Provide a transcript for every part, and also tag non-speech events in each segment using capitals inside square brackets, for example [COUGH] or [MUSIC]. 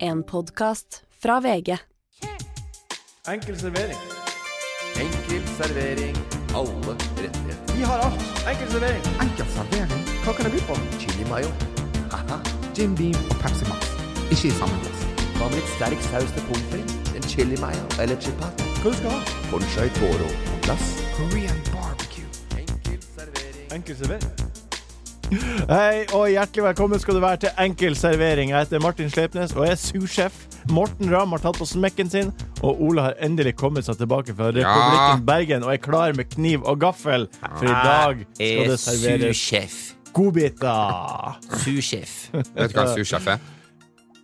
En podkast fra VG. Enkel servering. Enkel servering. Alle rettigheter. Vi har alt. Enkel servering. Enkel servering. Hva kan jeg by på? Chili mayo. Haha. Jim Beam og Pepsi Max. Ikke i samme glass. Hva med litt sterk saus til pommes frites? En chili mayo eller chipat? Hva du skal ha? Ponchai toro på glass. Korean barbecue. Enkel servering. Enkel servering. Hei og hjertelig velkommen skal du være til Enkel servering. Jeg heter Martin Slepnes og er sursjef. Morten Ramm har tatt på smekken sin, og Ole har endelig kommet seg tilbake fra Republikken Bergen og er klar med kniv og gaffel, for i dag skal det serveres Sous-sjef. godbiter. Sous-sjef. Vet du hva en sursjef er?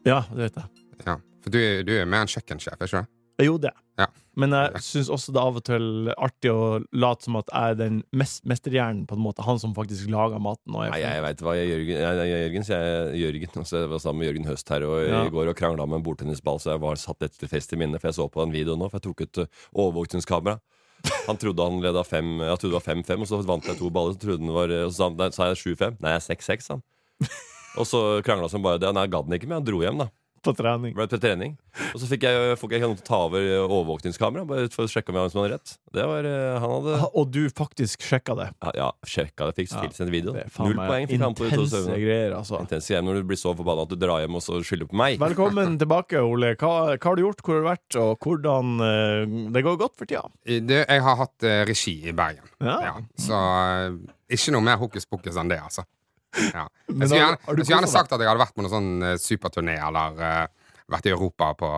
Ja, det vet jeg. Ja. For du, du er mer en kjøkkensjef, er ikke du? Jeg gjorde det. Ja. Men jeg syns også det er av og til artig å late som at jeg er den mest mesterhjernen, på en måte. Han som faktisk lager maten. Og er Nei, jeg veit hva jeg, Jørgen, jeg, jeg, Jørgen, så jeg, Jørgen altså, jeg var sammen med Jørgen Høst her og, Ja. i går og krangla om en bordtennisball, så jeg var satt etter fest i minne, for jeg så på den videoen nå, for jeg tok ut uh, overvåkningskamera. Han trodde han leda fem Jeg trodde det var 5-5, og så vant jeg to baller. Så trodde han var eh, og så sa han- nei, sa jeg 7-5. Nei, jeg er 6-6, sa han. Og så krangla han bare det. Nei, jeg gadd den ikke, men han dro hjem, da. på trening. Ble til trening. Og så fikk jeg, fikk jeg noen til å ta over uh, overvåkningskameraet, bare for å sjekke om jeg hadde rett. Det var uh, Han hadde Og du faktisk sjekka det. Ja, ja, sjekka det. Fikk Ja, tilsendt video. Det er faen Null meg poeng fikk han på de to intense søvnene. greier, altså. Intens hjem når du blir så forbanna at du drar hjem og så skylder på meg. [LAUGHS] Velkommen tilbake, Ole. Hva, hva har du gjort, hvor har du vært, og hvordan eh, Det går godt for tida. Du, jeg har hatt eh, regi i Bergen. Ja. Ja. Så eh, ikke noe mer hokus pokus enn det, altså. [LAUGHS] Ja. Men Jeg skulle har- har du gjerne, jeg skulle koset gjerne sagt at jeg hadde vært på noen sånn eh, superturné eller eh, vært i Europa på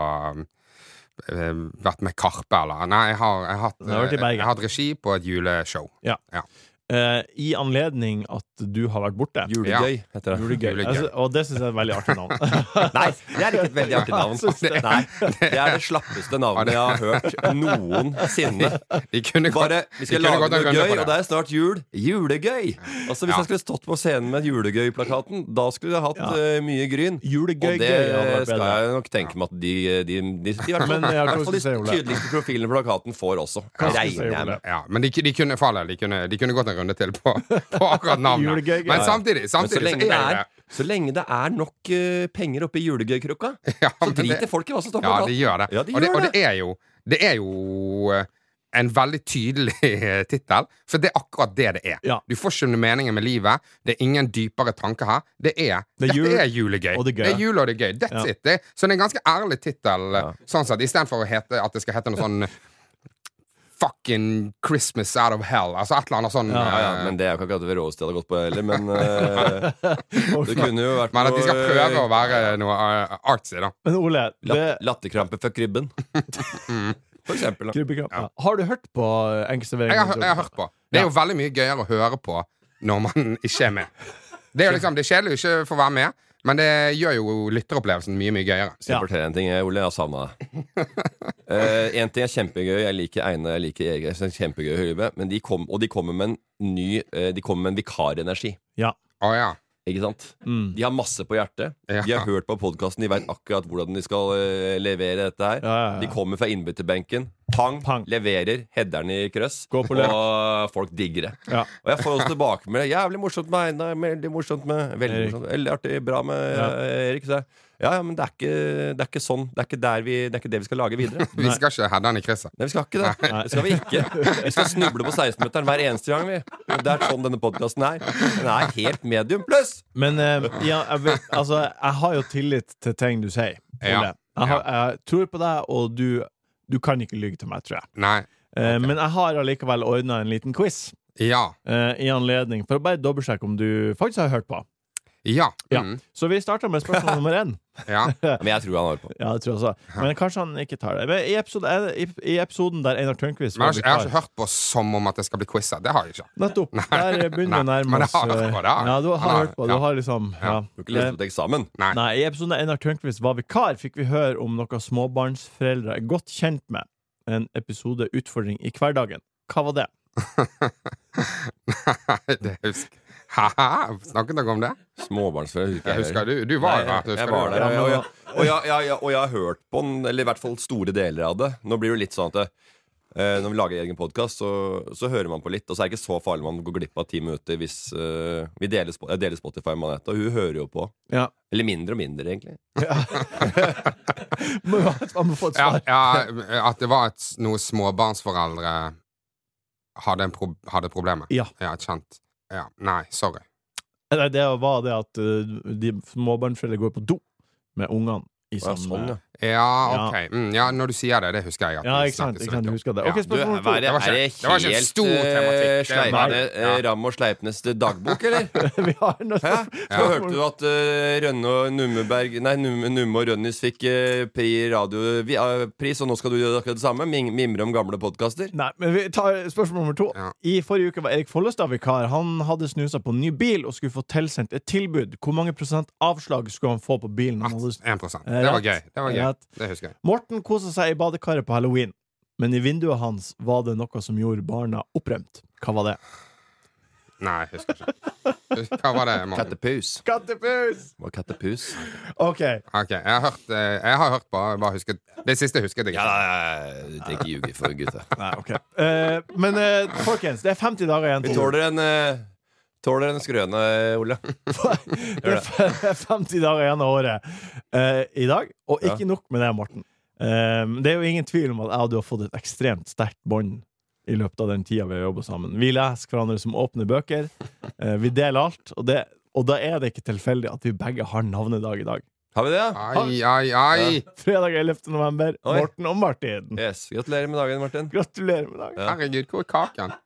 eh, eh, Vært med Karpe eller Nei, jeg har, jeg har, hatt, Du har vært i eh, Bergen. jeg har hatt regi på et juleshow. Eh, I anledning at du har vært borte. Julegøy heter det. Julegøy. Julegøy. Altså, og det syns jeg er et veldig artig navn. Nei, det er ikke et veldig [LAUGHS] artig [LAUGHS] navn. Jeg syns det. Nei, det er det slappeste navnet jeg har hørt noensinne. De kunne gått- Bare, de Vi skal kunne lage gått en noe runde på gøy, og det er snart jul. Julegøy! Altså Hvis Ja. jeg skulle stått på scenen med julegøy-plakaten, da skulle jeg hatt Ja. eh, mye gryn. Julegøy Og det gøy hadde vært skal bedre. jeg nok tenke meg at de, de, de, de, i hvert fall- Men eh, jeg i har ikke hvert fall de lyst til å si, Ole. tydeligste profilene på plakaten får også. Hva skal jeg si, Regner jeg Ole? med. Ja, men de, de kunne falle. De kunne, de kunne gått en runde til på, på akkurat navnet. Julegøy, Men ja. samtidig, Men så samtidig lenge, det er er, så lenge det er nok eh, penger oppi julegøykrukka, Ja, så men driter det- folk i hva som står på Ja, plakaten. de gjør det. Ja, de og det, gjør og det er jo, det er jo eh, en veldig tydelig [LAUGHS] tittel, for det er akkurat det det er. Ja. Du får ikke noe meningen med livet. Det er ingen dypere tanker her. Det er, Det er dette jul, er julegøy. og det er gøy. er jul og det er gøy. That's Ja. it. Det, så det er en ganske ærlig tittel, Ja. sånn sett, istedenfor at det skal hete noe sånn Fucking Christmas out of hell. Altså et eller annet sånn Ja, ja, eh, men Det er jo ikke akkurat det råeste jeg hadde gått på heller, men [LAUGHS] eh, det kunne jo vært Men at de skal noe, eh, prøve å være noe eh, artsy, da. [LAUGHS] Men Ole, det, lat- Latterkrampe for [LAUGHS] krybben. For eksempel. Da. Krypekramp, ja. Har du hørt på eh, Enkeserveringen? Jeg har, jeg har hørt på. Det er jo veldig mye gøyere å høre på når man [LAUGHS] ikke er med. Det er jo liksom, det er kjedelig å ikke få være med, men det gjør jo lytteropplevelsen mye mye gøyere. Skal jeg fortelle en ting, eh, Ole? Jeg har savna deg. Eh, en ting er kjempegøy. Jeg liker Einar, jeg liker Eger. Jeg synes det er kjempegøy å høre med, men de kom, Og de kommer med en ny eh, De kommer med en vikarenergi. Ja. Å ja. Ikke sant? Mm. De har masse på hjertet. Ja. De har hørt på podkasten. De veit akkurat hvordan de skal eh, levere dette her. Ja, ja, ja. De kommer fra innbytterbenken. Pang, Pang. leverer. Headeren i krøss. Gå på løp. Og folk digger det. Ja. Og jeg får også tilbake med det. Jævlig morsomt med Einar. Veldig morsomt med Veldig Erik. morsomt. Veldig artig. Bra med Ja. eh, Erik. Så jeg, ja, ja, men det er ikke, det er ikke sånn. Det er ikke, der vi, det er ikke det vi skal lage videre. Vi skal ikke heade den i krysset. Nei, vi skal ikke det. Det skal vi ikke. Vi skal snuble på 16-meteren hver eneste gang, vi. Det er sånn denne podkasten er. Den er helt medium pluss! Men eh, ja, jeg, vet, altså, jeg har jo tillit til ting du sier. Ole. Ja. Jeg, har, jeg tror på deg, og du, du kan ikke lyge til meg, tror jeg. Nei. Eh, Men jeg har allikevel ordna en liten quiz Ja. eh, i anledning, for å bare dobbeltsjekke om du faktisk har hørt på. Ja. Ja. Mm. Så vi starter med spørsmål nummer [LAUGHS] én. [LAUGHS] ja. Men jeg tror han har på. Ja, det tror jeg også. Men kanskje han ikke tar det. Men i, episode, eh, i, I episoden der Einar Tørnquist Men var jeg har, ikke, jeg har vikar- ikke hørt på som om at det skal bli quiza. Det har jeg ikke. [LAUGHS] Nettopp. Der begynner vi å Nei, nærme men jeg oss har hørt på det, eh, jeg. Ja, du Men har jeg- hørt på. Du ja. har liksom ja. Du har ikke lest opp til eksamen. Nei. Nei, I episoden da Einar Tørnquist var vikar, fikk vi høre om noe småbarnsforeldre er godt kjent med. En episode utfordring i hverdagen. Hva var det? Nei, det husker [LAUGHS] Haha, Snakket dere om det? Småbarnsforeldre husker Jeg jeg. husker du, du Nei, var jo jeg, der. jeg husker var du? der, Ja, men og, hva- jeg, og, jeg, jeg, og jeg har hørt på den, eller i hvert fall store deler av det. Nå blir det jo litt sånn at det, Eh, når vi lager egen podkast, så, så hører man på litt. Og så er det ikke så farlig man går glipp av ti minutter hvis eh, vi deler, Spo- jeg deler Spotify med Anette. Og hun hører jo på. Ja. Eller mindre og mindre, egentlig. [LAUGHS] Må jo ha- Man må få et Ja, svar. ja, at det var et, noen småbarnsforeldre hadde, en pro hadde problemer. Ja. kjent. Ja, nei, sorry. Nei, det var det at uh, de småbarnsforeldre går på do med ungene i Ja, samme sånn, ja. Ja, ok. Mm, ja, når du sier det, det husker jeg. at Ja, vi ikke sant. snakket Ikke så sant. vidt om. Husker det. Ja. Ok, Du, spørsmål hva er, det, Det var ikke- er det det var ikke en helt stor eh, tematikk. Det er Sleipne, bare- eh, ja. Ram og Sleipnes dagbok, eller? to. [LAUGHS] Vi har noe Hæ? spørsmål. Så hørte du at eh, Rønne og Nummeberg Nei, Numme, Numme og Rønnis fikk eh, pri radiopris, og nå skal du gjøre akkurat det samme? Mim, mimre om gamle podkaster? Nei, men vi tar spørsmål nummer to. Ja. I forrige uke var Erik Follestad vikar. Han hadde snusa på ny bil og skulle få tilsendt et tilbud. Hvor mange prosent avslag skulle han få på bilen? Han hadde... 1 Det var gøy. Det, var gøy. Eh, Rett. det husker jeg. Morten kosa seg i badekaret på halloween, men i vinduet hans var det noe som gjorde barna opprømt. Hva var det? Nei, jeg [LAUGHS] husker ikke. Hva var det, Morten? Kattepus. Kattepus! Hva er kattepus? OK. Ok, jeg har hørt, eh, jeg har hørt på, bare husket, det siste husket jeg Ja, ikke. du trenger ikke ljuge for gutta. Nei, ok Eh, Men eh, folkens, det er 50 dager igjen. Vi til jul. tåler en eh, Tåler en skrøne, Ole. Det [LAUGHS] er 50 dager igjen av året eh, i dag. Og Ja. ikke nok med det, Morten. Eh, det er jo ingen tvil om at jeg og du har fått et ekstremt sterkt bånd i løpet av den tida vi har jobba sammen. Vi leser hverandre som åpne bøker. eh, vi deler alt. Og, det, og da er det ikke tilfeldig at vi begge har navnedag i dag. Har vi det? ja? Ai, ai, ai! Fredag 11. november. Oi. Morten og Martin. Yes. Gratulerer med dagen, Martin. Gratulerer med dagen. Ja. Herregud, hvor er kaken?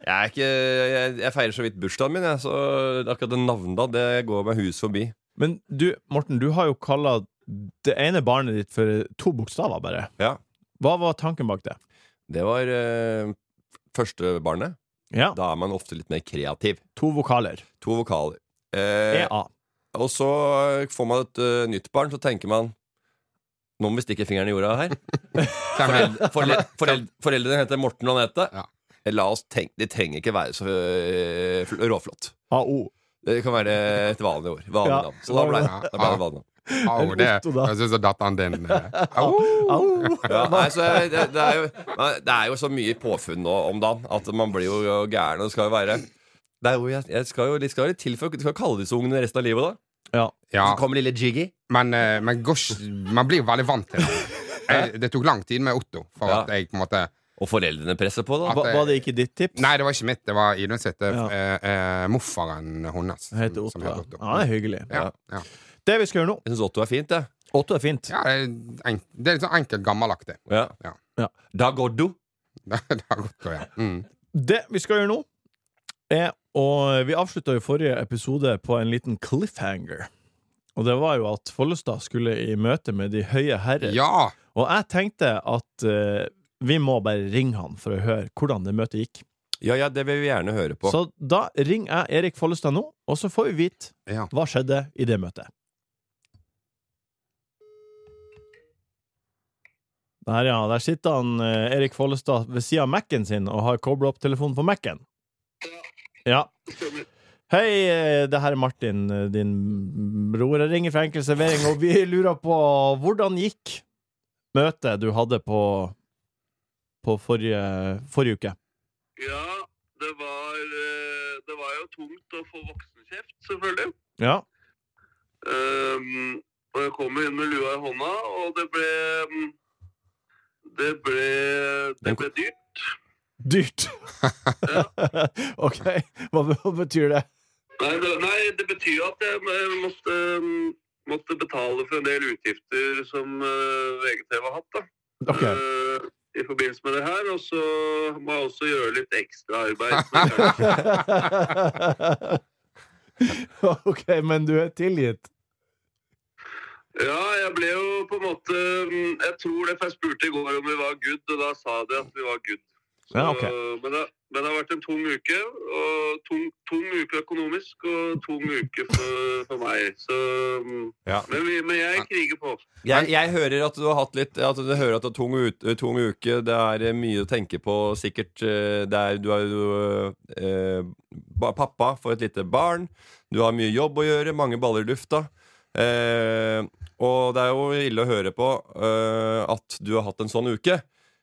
Jeg, er ikke, jeg, jeg feirer så vidt bursdagen min, jeg, så akkurat den navndag det går meg hus forbi. Men du, Morten, du har jo kalla det ene barnet ditt for to bokstaver, bare. Ja. Hva var tanken bak det? Det var eh, første barnet. Ja, Da er man ofte litt mer kreativ. To vokaler. E To vokaler. Eh, EA. Og så eh, får man et eh, nytt barn, så tenker man Nå må vi stikke fingeren i jorda her. Hvem er [LAUGHS] Foreldre, foreldre, foreldre, foreldrene heter Morten og Anette. Ja. Eh, La oss tenke, De trenger ikke være så eh, fl- råflott. AO. Det kan være et vanlig ord. Vanlig Ja. navn. Så da ble, Ja. da ble det vanlig navn. Au, En det otto, da. Jeg synes det er datteren din. [LAUGHS] eh. Au! Au. Ja, nei, så jeg- det, det, er jo, nei, det er jo så mye påfunn nå om dagen at man blir jo gæren. Og det skal jo være det er jo, jeg, jeg skal jo litt, skal jo litt til for Du skal kalle disse ungene resten av livet, da. Ja, Så kommer lille Jiggy. men, eh, men gosh, man blir jo veldig vant til det. Jeg, det tok lang tid med Otto. For Ja. at jeg på en måte Og foreldrene presser på, da. At- Hva, var det ikke ditt tips? Nei, det var ikke mitt, det var Idun sitt. Ja. Ja. Eh, Morfaren hennes. Det heter Otto. som Ja, heter Otto. Ja, det er hyggelig. Ja, ja. Det vi skal gjøre nå Jeg syns Otto er fint, jeg. Otto er fint. Ja, det, er enk, det er litt sånn enkelt gammelaktig. [LAUGHS] Ja. Ja. Ja. Da går du. Det har gått bra, ja. Mm. Det vi skal gjøre nå, er å Vi avslutta jo forrige episode på en liten cliffhanger. Og det var jo at Follestad skulle i møte med de høye herrer. ja! Og jeg tenkte at eh, vi må bare ringe han for å høre hvordan det møtet gikk. Ja, ja, det vil vi gjerne høre på. Så da ringer jeg Erik Follestad nå, og så får vi vite Ja. hva skjedde i det møtet. Der, ja. Der sitter han eh, Erik Follestad ved sida av Mac-en sin og har kobla opp telefonen på Mac-en. Ja. Hei, eh, det her er Martin, eh, din bror. Jeg ringer fra Enkel servering, og vi lurer på hvordan gikk møtet du hadde på, på forrige, forrige uke? Ja, det var, eh, det var jo tungt å få voksenkjeft, selvfølgelig. Ja. Ehm, og jeg kom jo inn med lua i hånda, og det ble mm, Det ble, det Den ble dyrt. Dyrt. [LAUGHS] ok, hva, hva betyr det? Nei, det, nei, det betyr jo at jeg eh, måtte, mm, måtte betale for en del utgifter som eh, VGTV har hatt, da. Ok, Eh, I forbindelse med det her. Og så må jeg også gjøre litt ekstra arbeid. som jeg gjør. [LAUGHS] ok, men du er tilgitt. Ja, jeg ble jo på en måte mm, Jeg tror det, for jeg spurte i går om vi var good, og da sa de at vi var good. Så, Ja, ok. men, det, men det har vært en tung uke. Og tung, tung uke økonomisk og tung uke for, for meg. Så, mm, Ja. men, vi, men jeg kriger på. Jeg, jeg hører at du har hatt litt At du hører at det er tung, ut, tung uke. Det er eh, mye å tenke på, sikkert. eh, Det er, du er jo eh, ba- pappa for et lite barn. Du har mye jobb å gjøre, mange baller i lufta. Eh, og det er jo ille å høre på eh, at du har hatt en sånn uke.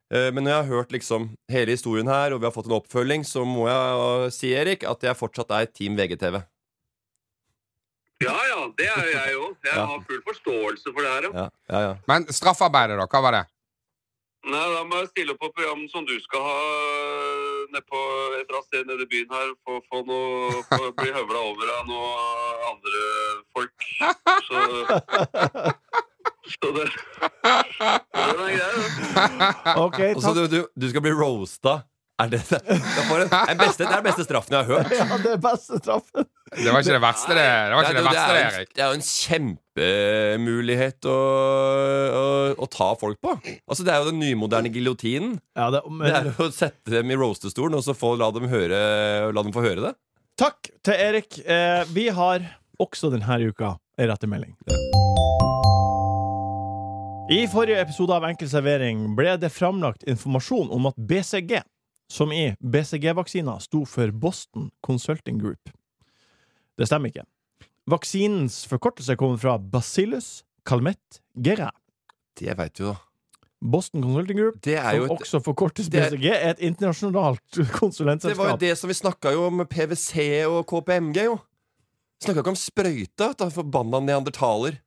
Eh, Men når jeg har hørt liksom hele historien her, og vi har fått en oppfølging, så må jeg eh, si Erik, at jeg fortsatt er Team VGTV. Ja ja, det er jeg òg. Jeg Ja. har full forståelse for det her. Ja. Ja, ja, ja. Men straffarbeidet, da? Hva var det? Nei, Da må jeg stille opp på program som du skal ha øh, nede på et eller annet sted nede i byen her. For, for noe, for å bli høvla over av noen andre folk. Så, så det, det er greit. OK, Og så takk. du, du, du skal bli roasta. Er det det? Jeg får en, en beste, det er den beste straffen jeg har hørt. [LAUGHS] Ja, det er beste straffen. Det var ikke det verste, det. Det var ikke det jo- verste, det, er jo en, Erik. det er jo en kjempemulighet å, å, å ta folk på. Altså Det er jo den nymoderne giljotinen. Ja, det, men, Det er jo å sette dem i roasterstolen og så få, la, dem høre, la dem få høre det. Takk til Erik. Eh, vi har også denne uka en rettemelding. I forrige episode av Enkel servering ble det framlagt informasjon om at BCG, som i BCG-vaksina, sto for Boston Consulting Group. Det stemmer ikke. Vaksinens forkortelse kommer fra Bacillus calmette gera. Det veit du, da. Boston Consulting Group, Det er jo som et, også forkortes det er- BCG, er et internasjonalt [LAUGHS] Det var jo konsulentselskap. det som vi snakka jo om PwC og KPMG, jo. Snakka ikke om sprøyta, da forbanna neandertaler.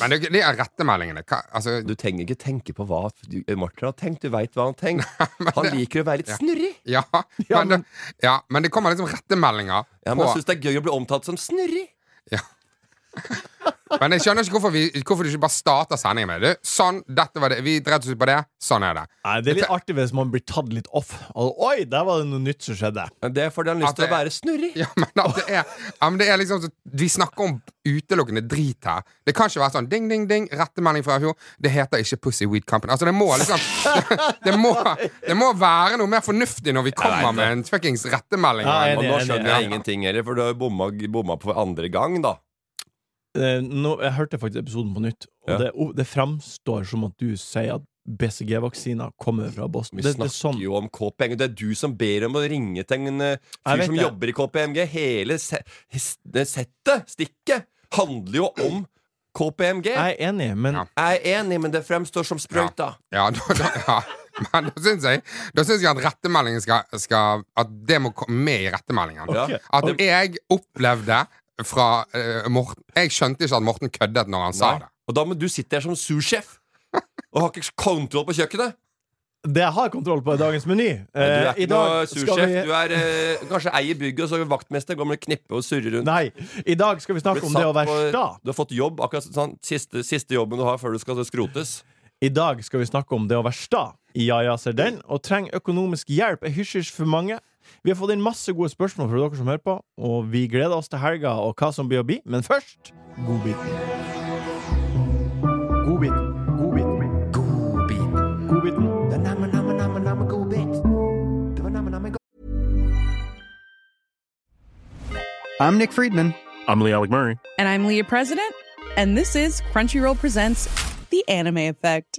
Men det, de er rettemeldingene. Hva, altså, Du trenger ikke tenke på hva du- eh, Martin har tenkt. Du veit hva han tenker. [LAUGHS] Han liker å være litt snurrig. ja, men det, ja, men det kommer liksom rettemeldinger. Ja, men på, Han syns det er gøy å bli omtalt som snurrig. men jeg skjønner ikke hvorfor, vi, hvorfor du ikke bare starter sendingen med det. Du, Sånn, dette var det. Vi dreit oss ut på det. Sånn er det. Nei, Det er litt artig hvis man blir tatt litt off. Og, Oi, der var det noe nytt som skjedde. Det er fordi han har lyst At til å det- være snurrig. Ja, men [LAUGHS] at det er, ja, men det er liksom så, Vi snakker om utelukkende drit her. Det kan ikke være sånn ding, ding, ding, rettemelding fra i fjor. Det heter ikke Pussy Weed Company. Altså, det må liksom [LAUGHS] Det må, det må være noe mer fornuftig når vi kommer med en fuckings rettemelding. Ja, og en- Og enig, nå enig, skjønner enig. jeg ingenting heller, for du har jo bomma, bomma på andre gang, da. Eh, Nå, jeg hørte faktisk episoden på nytt, og Ja. det, o- det framstår som at du sier at BCG-vaksina kommer fra Boston. Vi Det, det snakker er sånn. jo om KPMG. Det er du som ber om å ringe til en eh, fyr vet som det. jobber i KPMG. Hele se s- det settet, stikket, handler jo om KPMG. Jeg er enig, men Ja. Jeg er enig, men det fremstår som sprøyta. Ja, [LAUGHS] da, da, ja. Men da syns jeg, da synes jeg at rettemeldingen skal, skal At det må komme med i rettemeldingen. Ja. Ok. At jeg opplevde fra eh, Morten Jeg skjønte ikke at Morten køddet når han sa Nei. det. Og da må du sitte her som sursjef og har ikke kontroll på kjøkkenet. Det jeg har kontroll på, er dagens meny. Du er Eh, ikke noe sursjef. Du er eh, kanskje eier bygget, og så er du vaktmester. Går med knippe og surrer rundt. Nei, i dag skal vi Blir snakke om det satt å være på- sta. Du har fått jobb, akkurat sånn siste, siste jobben du har før du skal skrotes. I dag skal vi snakke om det å være sta. Ja, ja, ser den. Og trenger økonomisk hjelp er hysj-hysj for mange. Vi har fått inn masse gode spørsmål fra dere som hører på, og vi gleder oss til helga og hva som blir å bli. Men først godbiten. Godbiten. Godbiten. Godbiten. Det er namme, namme, namme, namme godbit. Det var namme, namme I'm Nick Friedman. I'm Lee Alec Murray. And I'm Leah President, and this is Crunchyroll Presents The Anime Effect.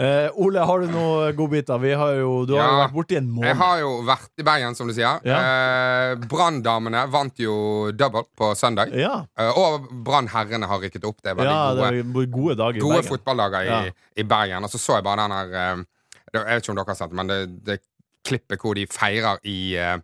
Eh, Ole, har du noen godbiter? Vi har jo, du har jo Ja. vært borti en Jeg måned. har jo vært i Bergen, som du sier. Eh, Branndamene vant jo double på søndag. Eh, og Brannherrene har rykket opp. Det var Ja, de det gode, er gode dager i gode Bergen. fotballdager i, Ja. i Bergen. Og så så jeg bare den her eh, det- Jeg vet ikke om dere har sett det, men det, det klippet hvor de feirer i, eh,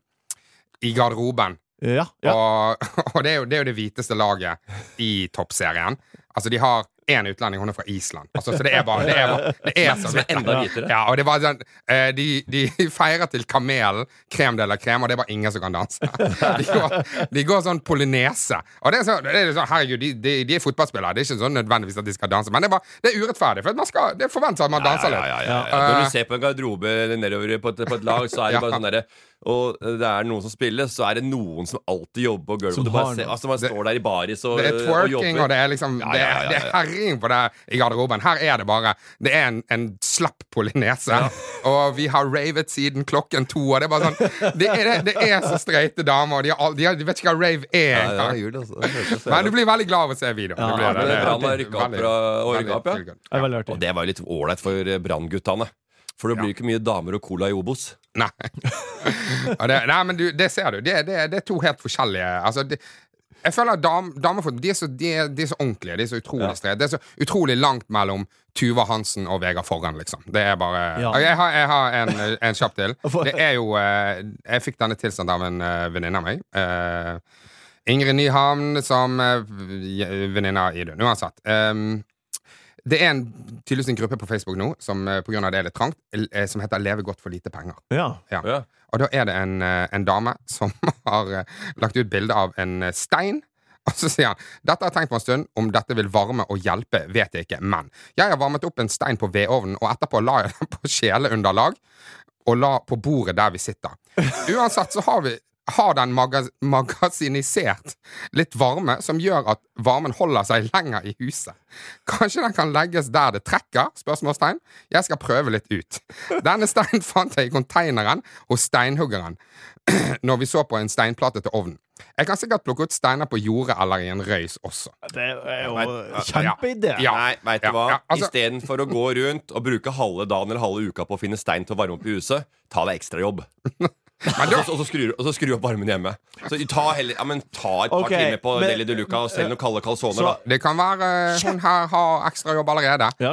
i garderoben. Ja, ja. Og, [LAUGHS] og det, er jo, det er jo det hviteste laget i toppserien. Altså, de har én utlending, hun er fra Island. Altså, så det er bare Det er, bare- det er så Som er hvitt, enda da. hvitere. Ja, og det var sånn, eh, de, de feirer til kamelen, krem de la krem, og det er bare ingen som kan danse. [LAUGHS] De går, de går sånn polynese. Og det er sånn, det er sånn herregud, de, de, de er fotballspillere. Det er ikke sånn nødvendigvis at de skal danse, men det er, bare, det er urettferdig. For at man skal, det forventes at man danser litt. Ja, ja, ja. Når du ser på en garderobe eller nedover på et, på et lag, så er det bare sånn derre Og det er noen som spiller, så er det noen som alltid jobber på gulvet. Som Du bare har ser, noe. altså Man står der i baris og, eh, det er og twerking, jobber. og, det er liksom Ja, det ja, er- ja, Det ja. er herjing på det i garderoben. Her er det bare Det er en, en slapp polynese. Og vi har ravet siden klokken to, og det er bare sånn Det er, det er så streite damer, og de, har, all- de, har, de vet ikke hva rave er Ja, ja, engang. jul, altså. Det føles så jævlig. Men du blir veldig glad av å se videoen. Ja, Du blir det det. er bra man veldig- rykka opp veldig- fra og veldig rykket opp, kul. ja. Og det var jo litt ålreit for eh, brannguttene. For det blir jo ikke mye damer og cola i Obos. Nei. Ja, det, nei, men du, det ser du. Det, det, det er to helt forskjellige altså, det, Jeg føler at dam, damefotball de, er så- de, er- de er så ordentlige. De er så utrolig Ja. street. Det er så utrolig langt mellom Tuva Hansen og Vegard Forhen, liksom. Det er bare Ja. Og Jeg har, jeg har en, en kjapp [LAUGHS] til. Det er jo eh, Jeg fikk denne tilsendt av en eh, venninne av meg. Eh, Ingrid Nyhamn som eh, venninne av Idun. Uansett. Um, det er en, tydeligvis en gruppe på Facebook nå som eh, på grunn av det er litt trangt, l- eh, som heter Leve godt for lite penger. Ja. Og da er det en, eh, en dame som [LAUGHS] har eh, lagt ut bilde av en eh, stein. Og så sier han dette har jeg tenkt på en stund, om dette vil varme og hjelpe, vet jeg ikke, men jeg har varmet opp en stein på vedovnen, og etterpå la jeg den på kjeleunderlag og la på bordet der vi sitter. Uansett så har vi har den maga magasinisert litt varme, som gjør at varmen holder seg lenger i huset. Kanskje den kan legges der det trekker? Spørsmålstegn. Jeg skal prøve litt ut. Denne steinen [LAUGHS] fant jeg i konteineren hos steinhuggeren [CLEARS THROAT] når vi så på en steinplate til ovnen. Jeg kan sikkert plukke ut steiner på jordet eller i en røys også. Det er jo kjempeidé. Ja. Nei, vet du Ja, hva? ja, altså- Istedenfor å gå rundt og bruke halve dagen eller halve uka på å finne stein til å varme opp i huset, ta deg ekstrajobb. Og så- og så skrur og så skrur du opp varmen hjemme. Så ta, heller, ja, men ta et par Ok, timer på men- Deli de Luca og selg noen kalde calzoner, da. Det kan være eh, hun her har ekstrajobb allerede. Eh,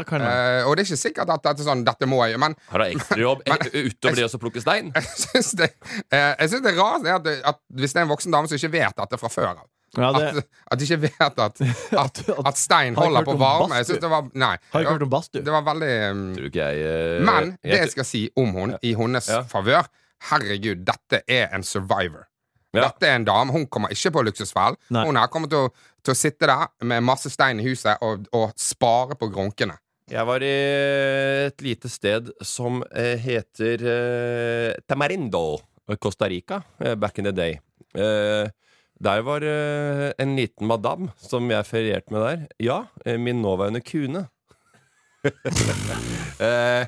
og det er ikke sikkert at dette, er sånn, dette må jeg, men Her er ekstrajobb utover det å plukke stein. [LAUGHS] Jeg syns det, eh, jeg synes det er rart det at, at hvis det er en voksen dame som ikke vet dette fra før av Ja, det- at, at de ikke [LAUGHS] vet at, at, at stein Har ikke holder hørt på om varme. Jeg badstue. synes det var, nei, Har ikke hørt om badstue. Det var veldig um, Men jeg- det jeg skal si om hun i hennes favør Herregud, dette er en survivor. Dette er en dame. Hun kommer ikke på luksusfellen. Nei. Hun her kommer til å, til å sitte der med masse stein i huset og, og spare på grunkene. Jeg var i et lite sted som eh, heter eh, Tamarindo, Costa Rica, eh, back in the day. Eh, der var eh, en liten madam som jeg ferierte med der. Ja, eh, min nåværende kune. [LAUGHS] eh,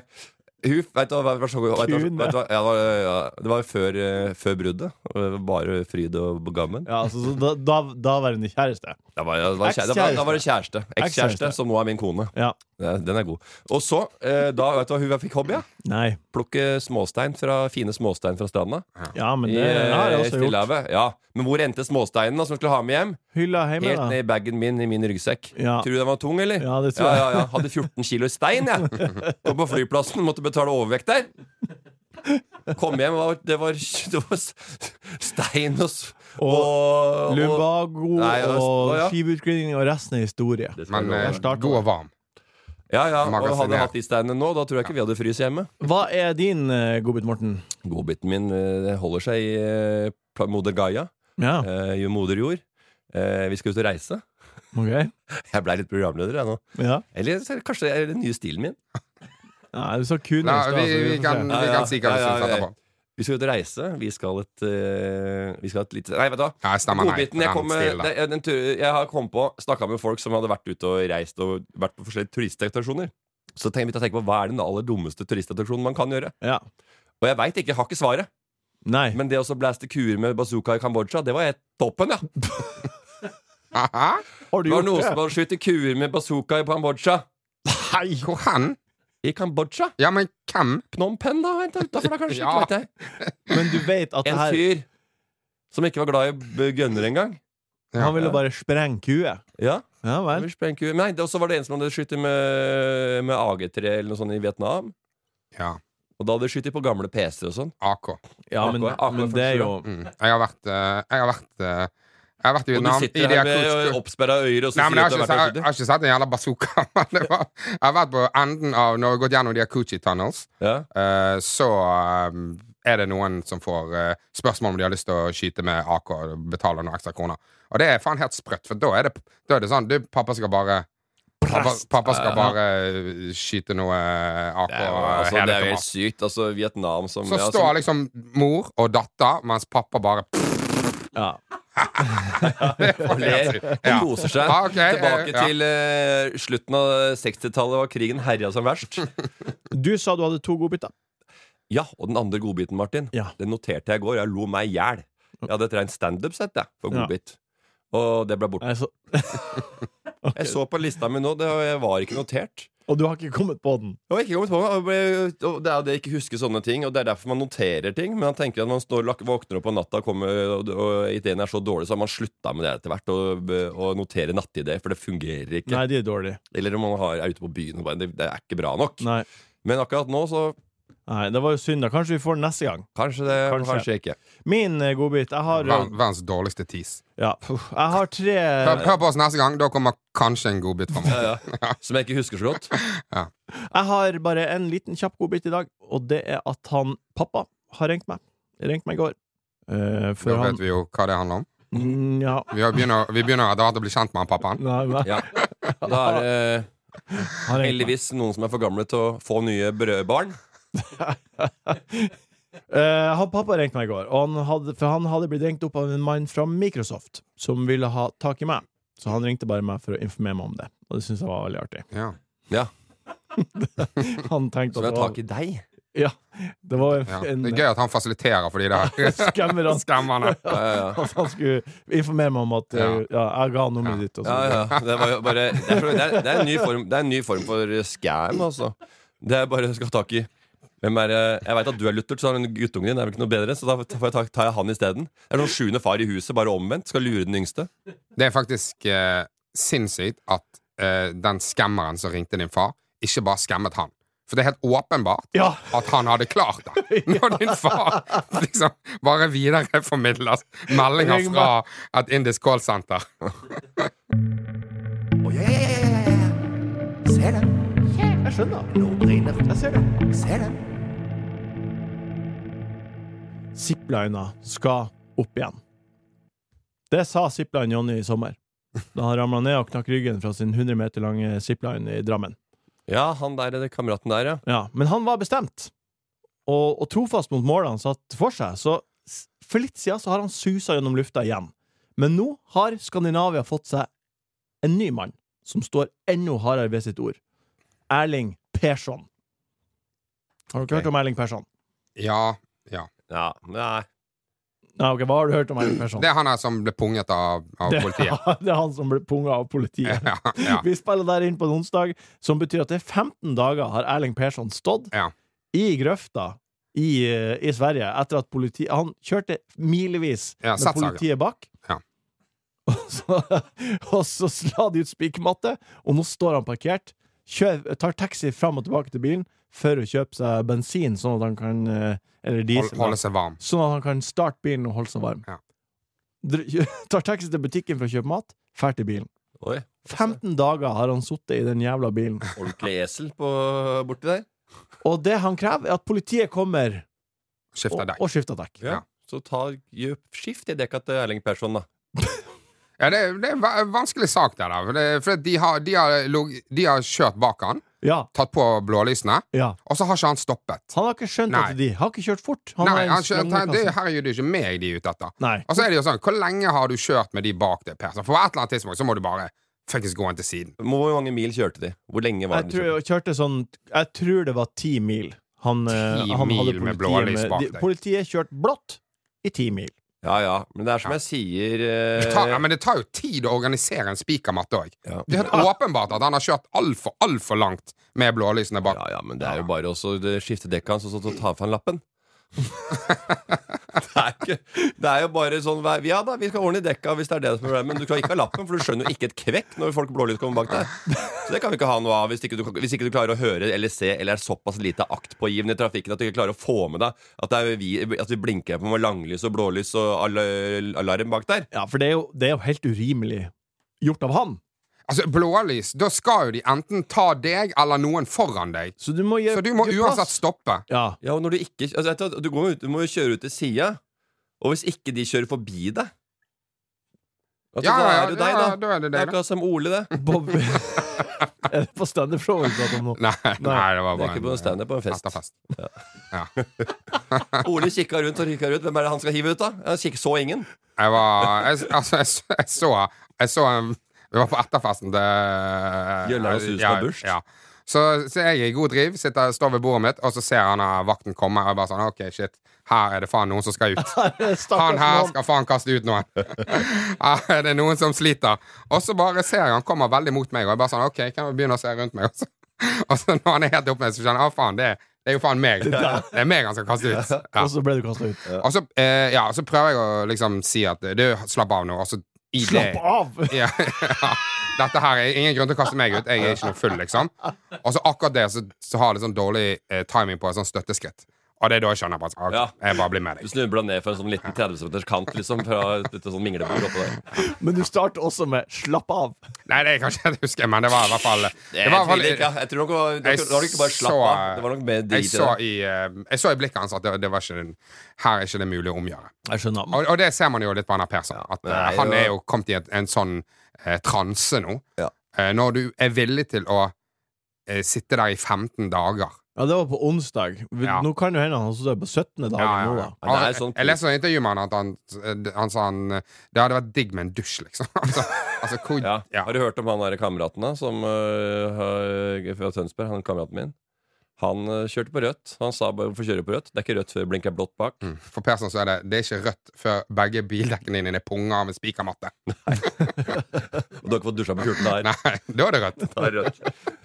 hun, vet du, hva- vet du, hva- vet du, Kune. vet du, hva- ja, det var- ja, Det var jo før, eh, før bruddet. og det var Bare fryd og gammen. Ja, altså, så da, da, daværende kjæreste. Da var, da, var, kjære- da, var, da var det kjæreste. Ekskjæreste, Ekskjæreste. som nå er min kone. Ja, Den er god. Og så, eh, da vet du hva hun fikk hobby? Ja? Nei. Plukke småstein fra, fine småstein fra stranda. Ja, men det har jeg I, eh, også gjort. Stillehavet. Ja. Men hvor endte småsteinene som hun skulle ha med hjem? Hylla hjemme, Helt da. ned i bagen min i min ryggsekk. Ja. Tror du den var tung, eller? Ja, det tror jeg. Ja, ja, ja. Hadde 14 kilo stein, [LAUGHS] jeg. Kom på flyplassen, måtte betale overvekt der. Kom hjem, og det var, det var stein og, s- og, og Lumbago Nei, og- og og ja. skiveutglidning, og resten er historie. Men Der eh, starter god og varm. Ja, ja, og Magasinert. hadde jeg hatt de steinene nå, da tror jeg ikke vi hadde fryst hjemme. Hva er din eh, godbit, Morten? Godbiten min eh, holder seg i eh, pla- moder Gaia. Ja. Eh, jo moder jord. Eh, vi skal ut og reise. [LAUGHS] Ok. Jeg blei litt programleder, jeg nå. Ja. Eller så er det kanskje det er den nye stilen min. Nei, du sa kun i Nei, stad, vi- så vi får se. kan- vi kan si hva vi syns etterpå. Vi skal ut og reise. Vi skal et eh, Vi skal et lite Nei, vet du hva. Nei, stemmer, nei. Godbiten jeg, Den kom, med- stilen. det er den tur- jeg har kommet på Snakka med folk som hadde vært ute og reist og vært på forskjellige turistattraksjoner. Så tenk, begynte jeg å tenke på hva er den aller dummeste turistattraksjonen man kan gjøre. Og jeg veit ikke, jeg har ikke svaret. Men det å så blaste kuer med bazooka i Kambodsja, det var helt toppen, ja. Har det var noen som hadde skutt kuer med bazooka i Kambodsja. Hvor hen? I Kambodsja. Ja, men hvem? Phnom Penh, da, vent, utafor da, kanskje. Ja. ikke vet jeg. Men du vet at det En her fyr som ikke var glad i b- gønner engang. Han ville bare sprenge kuet. Ja. Ja vel. Vil sprenge kuer. Nei, det- og så var det en som hadde skutt med, med AG3 eller noe sånt i Vietnam. Ja. Og da hadde de skutt på gamle PC-er og sånn. AK. Ja, men, AK, men det er jo Mm. Jeg har vært eh, Jeg har vært eh, Jeg har vært i Og du Vietnam. i sitter det her med akustiske- oppsperra øyre og så Nei, men jeg har, sier at du ikke, jeg, har vært jeg ute. har ikke sett en jævla bazooka. [LAUGHS] Men det var, jeg har vært på enden av Når jeg har gått gjennom de Akuchi Tunnels, Ja. eh, så eh, er det noen som får eh, spørsmål om de har lyst til å skyte med AK og betaler noen ekstra kroner. Og det er faen helt sprøtt, for da er det, da er det sånn Du, pappa skal bare Pappa, pappa skal bare eh, skyte noe AK. Det er jo og altså, hele det er jo tomat. helt sykt. Altså, Vietnam som Så ja, står som- liksom mor og datter, mens pappa bare ja. og ler og Ja. koser seg. Ah, ok, Tilbake eh, ja. til eh, slutten av 60-tallet, var krigen herja som verst. Du sa du hadde to godbiter. Ja, og den andre godbiten, Martin, Ja. den noterte jeg i går. Jeg lo meg i hjel. Jeg hadde et rent standup-sett jeg, for Ja. godbit. Og det ble borte. Altså, Jeg så på lista mi nå, det jeg var ikke notert. og du har ikke kommet på den. Jeg var ikke kommet på meg, og ble- og Det er jo det jeg ikke husker sånne ting, og det er derfor man noterer ting. Men man tenker at man står, lak- våkner opp på natta, og, kommer, og, og ideen er så dårlig, så har man slutta med det etter hvert. Og, og notere nattideer, for det fungerer ikke. Nei, de er dårlige. Eller om man har, er ute på byen og bare det, det er ikke bra nok. Nei. Men akkurat nå, så Nei, det var jo synd. da Kanskje vi får den neste gang. kanskje det Kanskje. Kanskje, ikke. Min eh, godbit Jeg har, Ver- Verdens dårligste tease. ja, uff, jeg har tre Hør, hør på oss neste gang. Da kommer kanskje en godbit fra meg. Ja, [LAUGHS] ja. Som jeg ikke husker så godt. Jeg har bare en liten kjapp godbit i dag, og det er at han pappa har ringt meg. Ringt meg i går. Eh, for Da han vet vi jo hva det handler om. Mm, Ja. Vi har begynner, vi begynner etter hvert å bli kjent med han pappaen. Nei, nei. Ja. Da er det eh, Han ringte meg. heldigvis noen som er for gamle til å få nye brødbarn. Eh, han pappa ringte meg i går, og han hadde, for han hadde blitt ringt opp av en mann fra Microsoft som ville ha tak i meg. Så han ringte bare meg for å informere meg om det, og det syntes jeg var veldig artig. [LAUGHS] Ja. Ja, Han tenkte at Som vil det ha tak var, i deg. ja, det var Ja. en, Det er en gøy at han fasiliterer for de der [LAUGHS] skammer han skammerne. Ja, ja, ja. at han skulle informere meg om at eh, Ja. ja, jeg ga nummeret ditt. Og så. Ja, videre. ja. Det, var jo bare, det, er, så- det, er, det, er en ny form, det er en ny form for scam, altså. Det er bare å skal ha tak i hvem er, det- Jeg veit at du er luttert, så den guttungen din er vel ikke noe bedre. Så da får jeg ta, tar jeg han isteden. Det er sånn sjuende far i huset, bare omvendt. Skal lure den yngste. Det er faktisk eh, sinnssykt at eh, den skammeren som ringte din far, ikke bare skammet han. For det er helt åpenbart Ja. at han hadde klart [LAUGHS] det. Når din far liksom bare videreformidler meldinger Ring meg. fra et indisk callsenter. Å, ja, ja, ja, ja, ja, ja. Se den. Jeg skjønner. Nå brenner den. Jeg ser det. Se den. Ziplina skal opp igjen. Det sa zipline Jonny i sommer. Da han ramla ned og knakk ryggen fra sin 100 meter lange zipline i Drammen. Ja, han der, den kameraten der, ja. Ja, men han var bestemt, og, og trofast mot målet han satt for seg. Så s- for litt siden så har han susa gjennom lufta igjen. Men nå har Skandinavia fått seg en ny mann som står enda hardere ved sitt ord. Erling Persson. Har dere Ok. hørt om Erling Persson? Ja. ja. Nei. Ja, ok, Hva har du hørt om Erling Persson? Det er han her som ble punget av, av Det- [LAUGHS] politiet. det er han som ble punga av politiet. Ja, ja. Vi spiller der inn på en onsdag, som betyr at det er 15 dager har Erling Persson stått Ja. i grøfta i, eh, i Sverige etter at politiet Han kjørte milevis Ja, med satt saga. politiet bak. Ja. [LAUGHS] Og så, og så la de ut spikermatte, og nå står han parkert. Kjører, tar taxi fram og tilbake til bilen for å kjøpe seg bensin, sånn at han kan eh, Eller diesel. Hold, holde seg varm. Sånn at han kan starte bilen og holde seg varm. Ja. Dr- [LAUGHS] Tar taxi til butikken for å kjøpe mat, drar til bilen. Oi. 15 dager har han sittet i den jævla [LAUGHS] bilen. Ordentlig esel på, borti der. Og det han krever, er at politiet kommer og, Skifter dekk. og skifter dekk. Ja. Ja. Så ta gjør skift i dekka til Erling Persson, da. Ja, det, det er en va- vanskelig sak, det der. For, det, for de, har, de, har, log- de har kjørt bak han, Ja, tatt på blålysene, ja. og så har ikke han stoppet. Han har ikke skjønt Nei. at de har altså. ikke kjørt fort. Nei, er en han skjønte, slange det, kasse. her er jo du ikke med de er ute etter. Nei. Og så er det jo sånn, hvor lenge har du kjørt med de bak deg, Persson? For på et eller annet tidspunkt så må du bare faktisk gå inn til siden. Hvor mange mil kjørte de? Hvor lenge var Jeg det liksom? de tror, kjørte? jeg kjørte sånn, jeg tror det var ti mil. Han, eh, Ti han hadde mil med politiet blålys bak de- deg. Politiet kjørte blått i ti mil. Ja, ja. Men det er som jeg sier eh, Det tar, ja, men det tar jo tid å organisere en spikermatte òg. Det er helt åpenbart at han har kjørt altfor, altfor langt med blålysene bak. Ja, ja, men det er jo bare å så skifte dekket hans og så ta fra [LAUGHS] han lappen. det, er ikke, det er jo bare sånn vær- Ja da, vi skal ordne dekka hvis det er det som er problemet, men du skal ikke ha lappen, for du skjønner jo ikke et kvekk når folk i blålys kommer bak deg. Så det kan vi ikke ha noe av hvis ikke, du, hvis ikke du klarer å høre eller se eller er såpass lite aktpågivende i trafikken at du ikke klarer å få med deg at, det er vi, at vi blinker på med langlys og blålys og al- alarm bak der. Ja, for det er jo, det er jo helt urimelig gjort av han. Altså, blålys, da skal jo de enten ta deg eller noen foran deg. Så du må, gi plass. uansett stoppe. [LAUGHS] Ja. Ja, og når du ikke altså, vet du hva, du, går, jo ut- du må jo kjøre ut til sida, og hvis ikke de kjører forbi deg Ja, altså, Da ja, er det jo ja, deg, ja, da da. er det deg, det da. er akkurat som Ole, det. Bob [LAUGHS] Er det på standup show vi prater om nå? Nei, nei, det var Det bare er ikke på en standup, på en fest. Etterfest. Ja. Ole kikka rundt og kikka rundt. Hvem er det han skal hive ut, da? Han kikk, så ingen. Jeg var jeg, Altså, jeg, så- jeg så Jeg så um, Vi var på etterfesten til Gjøllar og Susan ja, Børst. Ja. Så, så jeg er i god driv, sitter, står ved bordet mitt, og så ser han eh, vakten komme. Og jeg bare sånn, ok, shit, her er det faen noen som skal ut. Han her skal faen kaste ut noen. [LAUGHS] Her er det noen som sliter. Og så bare ser jeg han kommer veldig mot meg, og jeg bare sånn, ok, kan jeg begynne å se rundt meg også? [LAUGHS] Og så når han er helt oppe med, så kjenner jeg, ah, faen, det, er- det er jo faen meg. Det er meg han skal kaste ut. Ja. Og så ble du kasta ut. Og så, eh, ja, så prøver jeg å liksom si at eh, du, slapp av nå. Og så i det- Slapp av! [LAUGHS] Ja, [LAUGHS] ja. Dette her er ingen grunn til å kaste meg ut. Jeg er ikke noe full, liksom. Og så akkurat det, så, så har jeg litt sånn dårlig eh, timing på et sånt støtteskritt. Og det er da jeg skjønner at Ja. jeg bare blir med Du deg. snubla ned fra en sånn liten 30 cm kant, liksom, fra et, et sånn minglebord oppå der. Men du starter også med 'slapp av'. Nei, det er kanskje det jeg husker, men det var i hvert fall Jeg det var i hvert fall- tviler ikke. Jeg tror nok det var, det var nok ikke bare slapp av. Det var nok mer jeg drit i så i, det. eh, jeg så i blikket hans at det, det var ikke den, her er ikke det mulig å omgjøre. Jeg skjønner. Og, og det ser man jo litt på han her Persson. at eh, Nei, han det er var- jo kommet i et, en sånn eh, transe nå. Ja. Eh, når du er villig til å eh, sitte der i 15 dager. Ja, det var på onsdag. Vi- Ja. Nå kan jo hende han har sittet på 17. dagen nå, da. Ja, det er Altså, sånn- jeg leste et intervju med han at han, eh, han sa han eh, Det hadde vært digg med en dusj, liksom. [LAUGHS] altså, altså, hvor, Ja. ja. Har du hørt om han derre kameraten da, som øh, har- fra Tønsberg? Han kameraten min. Han øh, kjørte på rødt. Han sa bare 'hvorfor kjøre på rødt'? Det er ikke rødt før det blinker blått bak. Mm. For Persson så er det Det er ikke rødt før begge bildekkene dine er punga av en spikermatte. [LAUGHS] Og du har ikke fått dusja på 14 dager. Nei, da er det rødt. Det [LAUGHS] er rødt.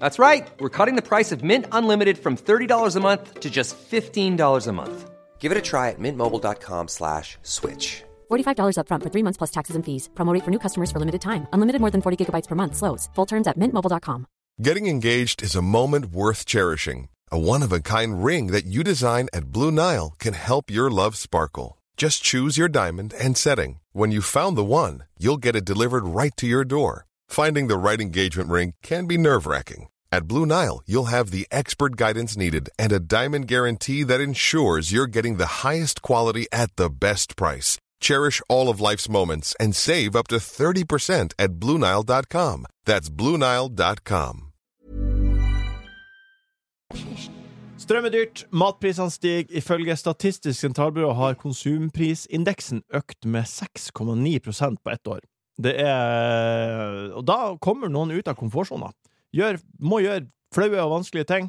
That's right. We're cutting the price of Mint Unlimited from $30 a month to just $15 a month. Give it a try at mintmobile.com slash switch. $45 upfront for three months plus taxes and fees. Promo rate for new customers for limited time. Unlimited more than 40 gigabytes per month. Slows. Full terms at mintmobile.com. Getting engaged is a moment worth cherishing. A one of a kind ring that you design at Blue Nile can help your love sparkle. Just choose your diamond and setting. When you found the one, you'll get it delivered right to your door. Finding the right engagement ring can be nerve wracking. At Blue Nile, you'll have the expert guidance needed and a diamond guarantee that ensures you're getting the highest quality at the best price. Cherish all of life's moments and save up to 30% at BlueNile.com. That's BlueNile.com. Strøm er dyrt, matprisene stiger. Ifølge Statistisk sentralbyrå har konsumprisindeksen økt med 6,9 på ett år. Det er Og da kommer noen ut av komfortsona. Gjør, må gjøre flaue og vanskelige ting.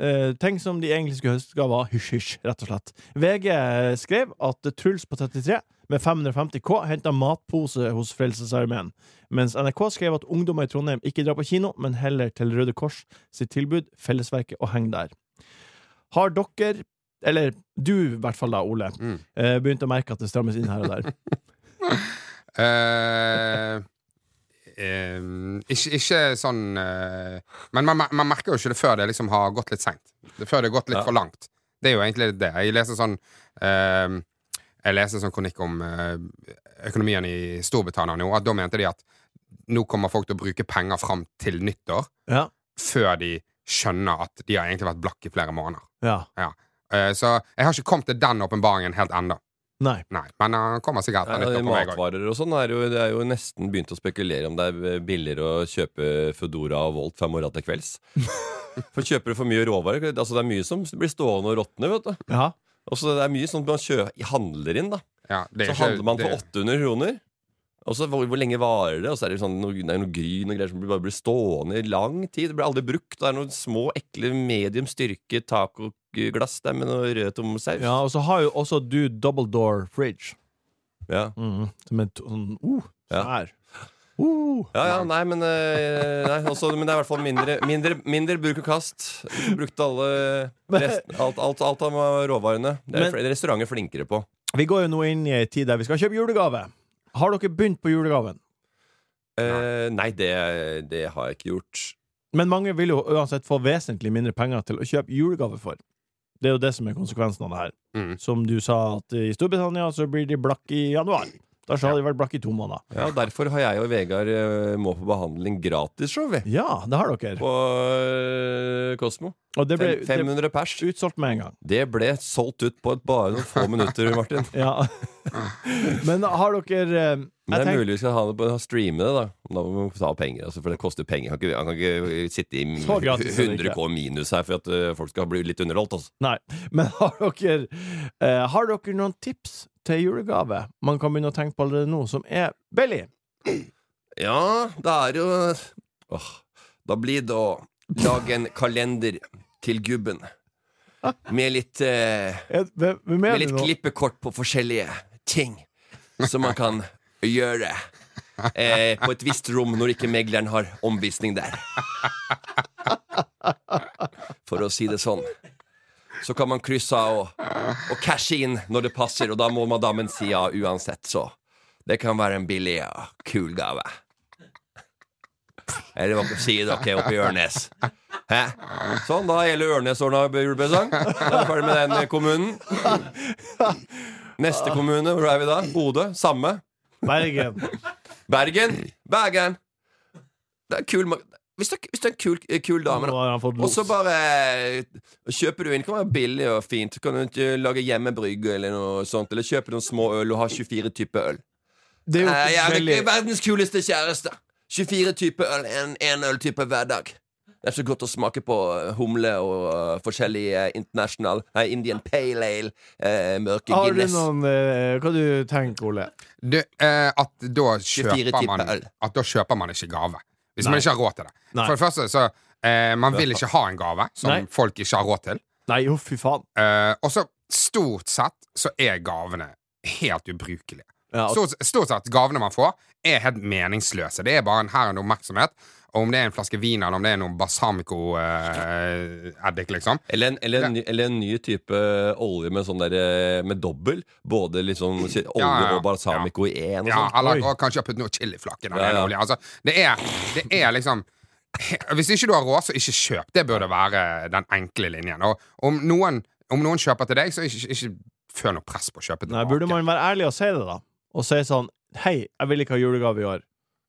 Eh, ting som de egentlig skulle ønske var hysj-hysj, rett og slett. VG skrev at Truls på 33 med 550 K henta matpose hos Frelsesarmeen, mens NRK skrev at ungdommer i Trondheim ikke drar på kino, men heller til Røde Kors sitt tilbud, Fellesverket og Heng der. Har dere, eller du i hvert fall da, Ole, eh, begynt å merke at det strammes inn her og der? Eh, eh, ikke, ikke sånn eh, Men man, man merker jo ikke det før det liksom har gått litt seint. Før det har gått litt Ja. for langt. Det er jo egentlig det. Jeg leser sånn eh, Jeg leser sånn kronikk om eh, økonomien i Storbritannia nå, at da mente de at nå kommer folk til å bruke penger fram til nyttår, [LAUGHS] Ja. før de skjønner at de har egentlig vært blakk i flere måneder. ja. Ja. Eh, så jeg har ikke kommet til den åpenbaringen helt ennå. Nei. Men han kommer sikkert til å Nei, nytte på meg også. matvarer og sånn er jo, det er jo nesten begynt å spekulere om det er øh, billigere å kjøpe Foodora og Volt fem morgenen til [LAUGHS] kvelds. For kjøper du for mye råvarer Altså Det er mye som blir stående og råtne, vet du. Ja. Og så det er mye sånn man kjø handler inn, da. det er så ikke- handler man for det- 800 kroner. Og så hvor, hvor lenge varer det? Og så er det sånn noe, det er noe gryn og greier som bare blir stående i lang tid. Det blir aldri brukt. Det er noen små, ekle, medium styrke tacoglass der med noe rød tomsaus. Ja, og så har jo også du double door fridge. Ja. Mhm. Som en t- sånn uh, Ja. svær. Uh. Ja, ja, nei, men, eh, nei, også, men det er i hvert fall mindre, mindre, mindre bruk og kast. Du brukte alle resten, alt, alt, alt av råvarene. Det er Men- fl- restauranter flinkere på. Vi går jo nå inn i ei tid der vi skal kjøpe julegave. Har dere begynt på julegaven? Eh, nei, det, det har jeg ikke gjort. Men mange vil jo uansett få vesentlig mindre penger til å kjøpe julegave for. Det er jo det som er konsekvensen av det her. Som du sa, at i Storbritannia så blir de blakk i januar. Da har de vært blakk i to måneder. Ja, og Derfor har jeg og Vegard eh, må på behandling gratis, så vi. Ja, det har dere. På eh, Kosmo. Og det ble- Fem- 500 pers. Utsolgt med en gang. Det ble solgt ut på et bare noen få minutter, Martin. [LAUGHS] Ja. Men har dere eh, jeg Men det er tenker- mulig vi skal ha det på, streame det, da. Da må vi ta penger, altså, for det koster penger. Han kan ikke, han kan ikke sitte i Så gratis er det ikke. 100 K minus her for at eh, folk skal bli litt underholdt. Altså. Nei. Men har dere, eh, har dere noen tips til julegave man kan begynne å tenke på allerede nå, som er billig? Ja, det er jo Åh, Da blir det å lage en kalender til [LAUGHS] gubben. Med litt, eh, er med det litt nå? klippekort på forskjellige ting som man kan gjøre. Eh, på et visst rom når ikke megleren har omvisning der. For å si det sånn. Så kan man krysse av og, og cashe inn når det passer, og da må madammen si ja uansett, så det kan være en billig og kul gave. Eller hva sier dere oppe i Ørnes? Hæ? Sånn, da er hele Ørnes ordna julepresang. Da er vi ferdig med den eh, kommunen. Neste kommune, hvor er vi da? Bodø? Samme? [LAUGHS] Bergen. Bergen. Bergen. Det er kul ma- Hvis det, hvis det er en kul, eh, kul dame, Nå har han fått og los. så bare eh, kjøper du inn. Det kan være billig og fint. Kan du ikke lage hjemmebrygg eller noe sånt? Eller kjøpe noen små øl og ha 24 typer øl. Det er jo Eh, ikke jeg er veldig- virkelig verdens kuleste kjæreste. 24 typer øl, en, en øltype hver dag. Det er så godt å smake på eh, humle og eh, forskjellig eh, international eh, Indian pale ale, eh, mørke Har du Guinness. noen eh, Hva du tenker Ole? Det, eh, at da 24 kjøper man typer øl. At da kjøper man ikke gave. Hvis Nei. man ikke har råd til det. Nei. For det første, så eh, Man vil ikke ha en gave som Nei. folk ikke har råd til. Nei, jo, fy faen. Eh, og så stort sett så er gavene helt ubrukelige. Ja, og- Stort, stort sett gavene man får, er helt meningsløse. Det er bare en her og en oppmerksomhet. Og om det er en flaske vin, eller om det er noen balsamico-eddik, liksom. Eller en, eller, en, ny- eller en ny type olje med sånn der, eh, med dobbel. Både liksom si- olje Ja, ja, ja. og balsamico i én og Ja, sånn. eller og kanskje ha putt noe chiliflak i den Ja, ja. ene oljen. Altså, det er, det er liksom Hvis ikke du har råd, så ikke kjøp. Det burde være den enkle linjen. Og om noen, om noen kjøper til deg, så ikke, ikke føl noe press på å kjøpe Nei, tilbake. burde man være ærlig og si det, da? Og si sånn Hei, jeg vil ikke ha julegave i år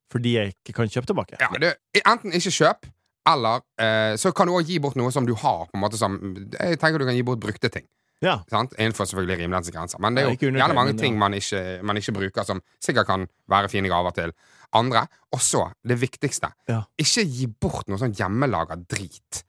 fordi jeg ikke kan kjøpe tilbake. Ja, du, enten ikke kjøp, eller eh, så kan du også gi bort noe som du har. På en måte som, jeg tenker du kan gi bort brukte ting. Ja. Sant? Innenfor selvfølgelig rimelighetens grenser. Men det Ja, er ikke jo under gjerne tre, mange men ting ja. man ikke, man ikke bruker, som sikkert kan være fine gaver til andre. Og så, det viktigste, Ja. ikke gi bort noe sånn hjemmelaga drit.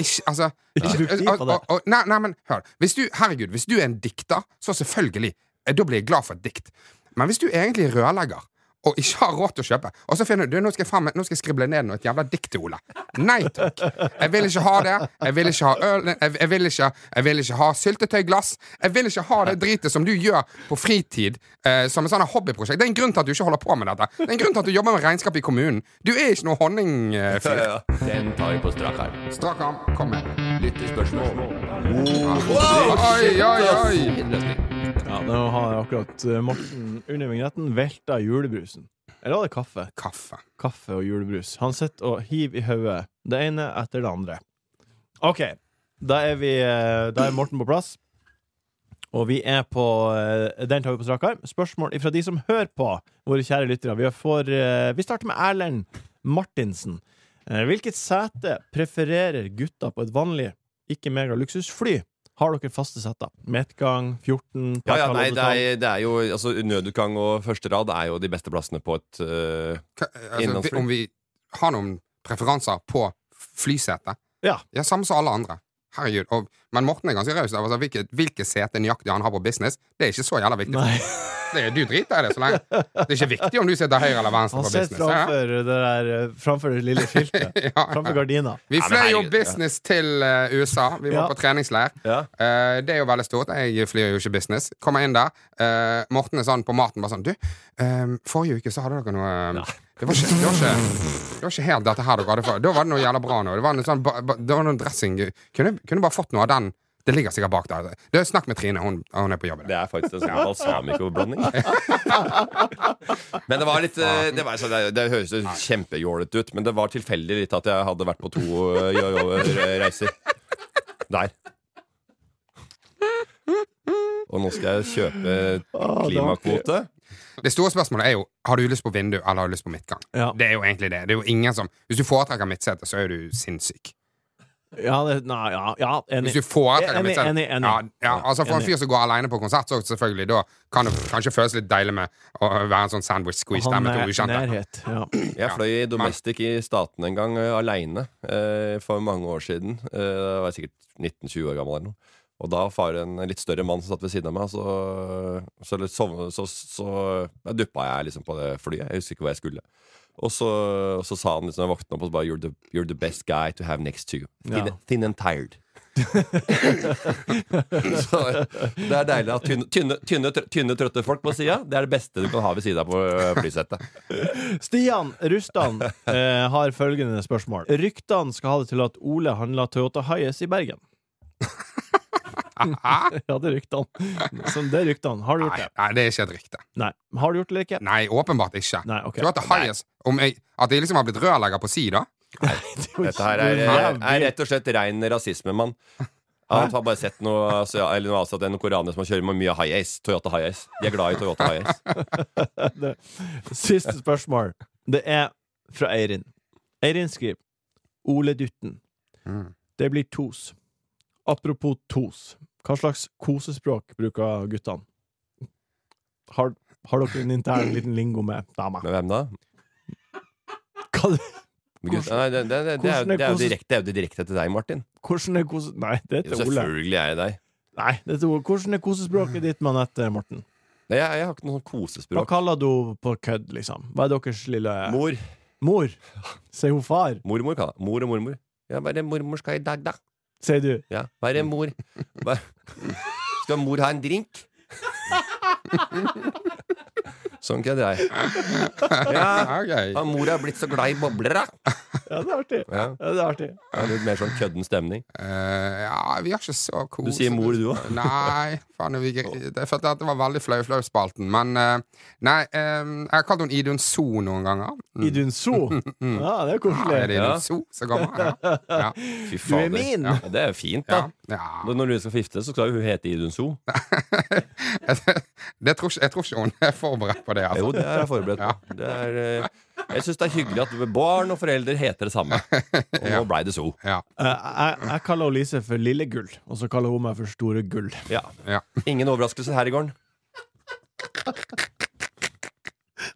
Ikke, altså, [LAUGHS] Ikke bruk tid på og- det. og- og- Nei, nei, men hør. Hvis du, herregud, hvis du er en dikter, så selvfølgelig. eh, Da blir jeg glad for et dikt. Men hvis du egentlig er rørlegger og ikke har råd til å kjøpe, og så finner du, du nå skal jeg, faen meg- nå skal jeg skrible ned noe et jævla dikt til Ole. Nei takk. Jeg vil ikke ha det. Jeg vil ikke ha øl. Jeg, jeg, vil, ikke, jeg vil ikke ha syltetøyglass. Jeg vil ikke ha det dritet som du gjør på fritid eh, som en sånn hobbyprosjekt. Det er en grunn til at du ikke holder på med dette. Det er en grunn til at du jobber med regnskap i kommunen. Du er ikke noe honningfyr. Ja, ja. Den tar vi på strak arm. Strak arm. Kom med. Lyttespørsmål. Wow, oi, oi, oi. Ja, nå har akkurat eh, Morten under vignetten velta julebrusen. Eller var det kaffe? Kaffe. Kaffe og julebrus. Han sitter og hiver i hodet det ene etter det andre. OK, da er vi eh, Da er Morten på plass. Og vi er på eh, Den tar vi på strak arm. Spørsmål fra de som hører på, våre kjære lyttere. Vi, får, eh, vi starter med Erlend Martinsen. Eh, Hvilket sete prefererer gutta på et vanlig, ikke megaluksusfly? Har dere faste setter? Midtgang, 14 Ja, ja, partall, nei, det overtall? er, det er jo altså, Nødutgang og første rad er jo de beste plassene på et uh, Altså, vi- om vi har noen preferanser på flysete? Ja. Samme som alle andre. Herregud. Og, men Morten er ganske raus. Altså, hvilket, hvilket sete nøyaktig han har på business, det er ikke så jævla viktig. Det, er- du driter i det så lenge. Det er ikke viktig om du sitter høyre eller Han venstre på sitter business. Ja, ja. framfor det, der, eh, framfor det lille skiltet. Framfor gardina. Vi fløy jo business til eh, USA. Vi var Ja. på treningsleir. Eh, det er jo veldig stort. Jeg flyr jo ikke business. Kommer inn der. eh, Morten er sånn på maten bare sånn Du, eh, forrige uke så hadde dere noe eh, det, var ikke, det, var ikke, det var ikke helt dette her dere hadde fått. Da var det noe jævla bra nå. Det var noe, sånn, ba, ba, det var noe dressing. Kunne, kunne bare fått noe av den. Det ligger sikkert bak der. Det er Snakk med Trine. Hun, hun er på jobb. i dag. Det er faktisk en sånn balsamico-blanding. [LAUGHS] Men det var litt eh, Det, var, så det, det høres jo kjempejålete ut, men det var tilfeldig litt at jeg hadde vært på to eh, jo- jo- reiser. Der. Og nå skal jeg kjøpe klimakvote. Det store spørsmålet er jo Har du lyst på vindu eller har du lyst på midtgang. Det er jo egentlig det. det er jo ingen som, hvis du foretrekker midtsete, så er du sinnssyk. Ja, det, nei, ja, ja enig. Hvis du foretrekker enig, midtsete enig, enig. Ja, ja, altså For en Enig. fyr som går alene på konsert, så selvfølgelig da kan det kanskje føles litt deilig med å være en sånn sandwich Han squeeze-stemme er til ukjente. nærhet. Ja. Jeg fløy domestic i staten en gang uh, aleine for mange år siden. Eh, Da var jeg sikkert 19-20 år gammel eller noe. Og da var det en litt større mann som satt ved siden av meg, så, så, litt sovn- så, så, da duppa jeg liksom på det flyet. Jeg husker ikke hvor jeg skulle. Og så, og så sa han liksom, når jeg våkna opp, og så bare you're the, you're the best guy to have next to you. Thin, Ja. thin and tired. [LAUGHS] så det er deilig at tynne, tynne, tynne, trø- tynne trøtte folk på sida, det er det beste du kan ha ved sida på eh, flysettet. [CLEARS THROAT] Stian Rustan eh, har følgende spørsmål. Ryktene skal ha det til at Ole handla Toyota Hiace i [LAUGHS] Bergen. ja, det er ryktene. Som det er ryktene. Har du gjort Nei, det? nei, det er ikke et rykte. Nei. Har du gjort det eller ikke? Nei, åpenbart ikke. Nei, ok. Tror du at det highest, om jeg, at jeg liksom har blitt rørlegger på si, da? Dette her er, er, er rett og slett rein rasisme, mann. Han har bare sett noe, altså, ja, eller noe annet, at det er noen koreanere som kjører med mye high-ace. Toyota high-ace. De er glad i Toyota high-ace. Det- Siste spørsmål. Det er fra Eirin. Eirin skriver Ole Dutten. Mm. Det blir tos. Apropos tos. Hva slags kosespråk bruker guttene? Har, har dere en intern liten lingo med dama? Med hvem da? Men gud, Nei, det, det, det, det, er, jo- det, er jo direkte, det er jo det direkte til deg, Martin. Hvordan er kose... Nei, det er Jo, til Ole. selvfølgelig er det deg. Nei, det er til Ole. Hvordan er kosespråket ditt, Manette Morten? Nei, jeg, jeg har ikke noe sånn Hva kosespråk. kaller du på kødd, liksom? Hva er deres lille Mor. Mor? Sier hun far? Mormor kaller jeg Mor og mormor. Ja, hva er det mormor skal i dag, da? Sier du? Ja, hva er det mor? Hva? Skal mor ha en drink? Sånn kødder jeg. Ja, Ok. ja, mor har blitt så glad i bobler, da. Ja, det er artig. Ja. Ja, det er artig. Det er litt mer sånn kødden stemning. Eh, ja, vi har ikke så kos. Du sier mor, du òg. Nei, faen, vi, jeg følte at det var veldig flau flau spalten. Men eh, nei, eh, jeg har kalt henne Idun So noen ganger. Idun So? [LAUGHS] Ja, det er koselig. Mm. Ja, er det Idun So som kommer? Ja. ja. Fy Du er min! Ja, det er jo fint, da. Ja. Men Når du skal gifte, så skal jo hun hete Idun So. Det tror ikke, jeg tror ikke hun er forberedt på det. Altså. Jo, det er jeg forberedt på. Det er, eh, jeg syns det er hyggelig at barn og foreldre heter det [LAUGHS] samme. Og nå blei det So. Ja. Eh, Jeg, jeg kaller hun Lise for Lille Gull, og så kaller hun meg for Store Gull. Ja. Ja. Ingen overraskelser her i gården. [LAUGHS]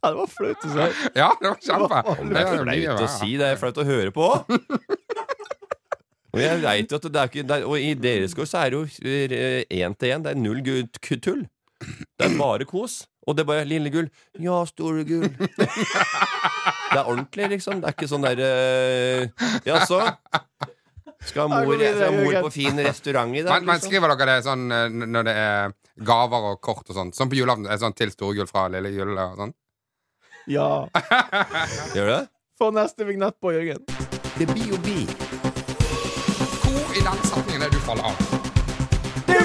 Ja, det var flaut å si. Ja, det var kjempe. Det er flaut å si. Det er flaut å høre på òg. Og jeg vet jo at det er ikke det er, Og i deres gård så er det jo én til én. Det er null gu- ku- tull. Det er bare kos. Og det er bare lille gull. Ja, store gull. Det er ordentlig, liksom. Det er ikke sånn derre Ja, så? Skal Jeg mor, går videre, skal mor Jørgen. på fin restaurant i dag? Men, men liksom? skriver dere det sånn eh, n- når det er gaver og kort og sånn? Sånn på julaften? eh, Sånn til storegull fra lille jul og sånn? Ja. Gjør det? Få neste vignett på, Jørgen. Det blir jo bi. Hvor i den setningen er det du faller av?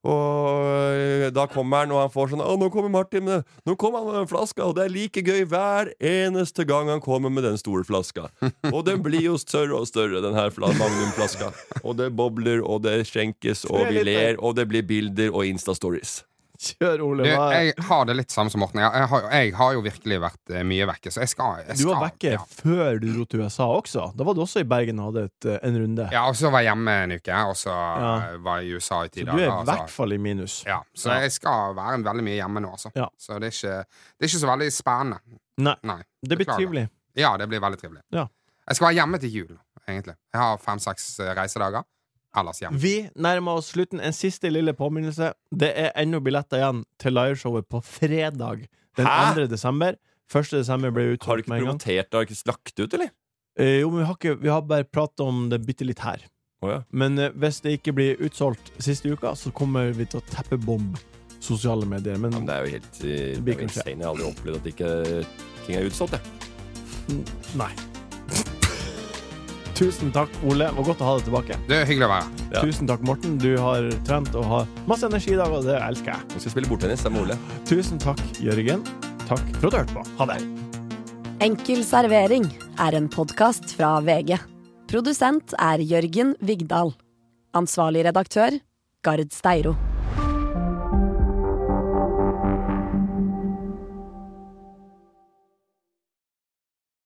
Og øh, da kommer han, og han får sånn Å, nå kommer Martin med det. Nå kommer han med den flaska, og det er like gøy hver eneste gang han kommer med den store flaska. Og den blir jo større og større, den her fla- magnumflaska. Og det bobler, og det skjenkes, og vi ler, og det blir bilder og Insta-stories. Kjør, Ole. Du, Hva er jeg har det litt samme som Morten. Jeg, jeg, har, jeg har jo virkelig vært eh, mye vekke, så jeg skal, jeg Du skal var vekke før du dro til USA også. Da var du også i Bergen og hadde et, eh, en runde. Ja, og så var jeg hjemme en uke, og så Ja. eh, var jeg i USA i Så ti du dager. er i og så- hvert fall i minus. altså. Ja, så Ja. jeg skal være veldig mye hjemme nå, altså. Ja. Så det er, ikke, det er ikke så veldig spennende. Nei. Nei. Det blir beklager. trivelig. Ja, det blir veldig trivelig. Ja. Jeg skal være hjemme til jul, egentlig. Jeg har fem-seks eh, reisedager. Ellers hjemme. Vi nærmer oss slutten. En siste lille påminnelse. Det er ennå billetter igjen til liveshowet på fredag den Hæ? 2. desember. 1. desember ble Har du utsolgt ikke med en gang. promotert og ikke lagt ut, eller? Eh, jo, men vi har, ikke, vi har bare pratet om det bitte litt her. Å ja. Men eh, hvis det ikke blir utsolgt siste uka, så kommer vi til å teppebombe sosiale medier. Men, Men det er jo helt, eh, Det det blir er jo kanskje- insane. Jeg har aldri opplevd at ikke ting er utsolgt, jeg. nei. Tusen takk, Ole. Det var godt å ha deg tilbake. Det er hyggelig å være her. Tusen takk, Morten. Du har trent og har masse energi i dag, og det elsker jeg. Nå skal jeg spille bordtennis sammen med Ole. Tusen takk, Jørgen. Takk for at du hørte på. Ha det. Enkel servering er en podkast fra VG. Produsent er Jørgen Vigdal. Ansvarlig redaktør, Gard Steiro.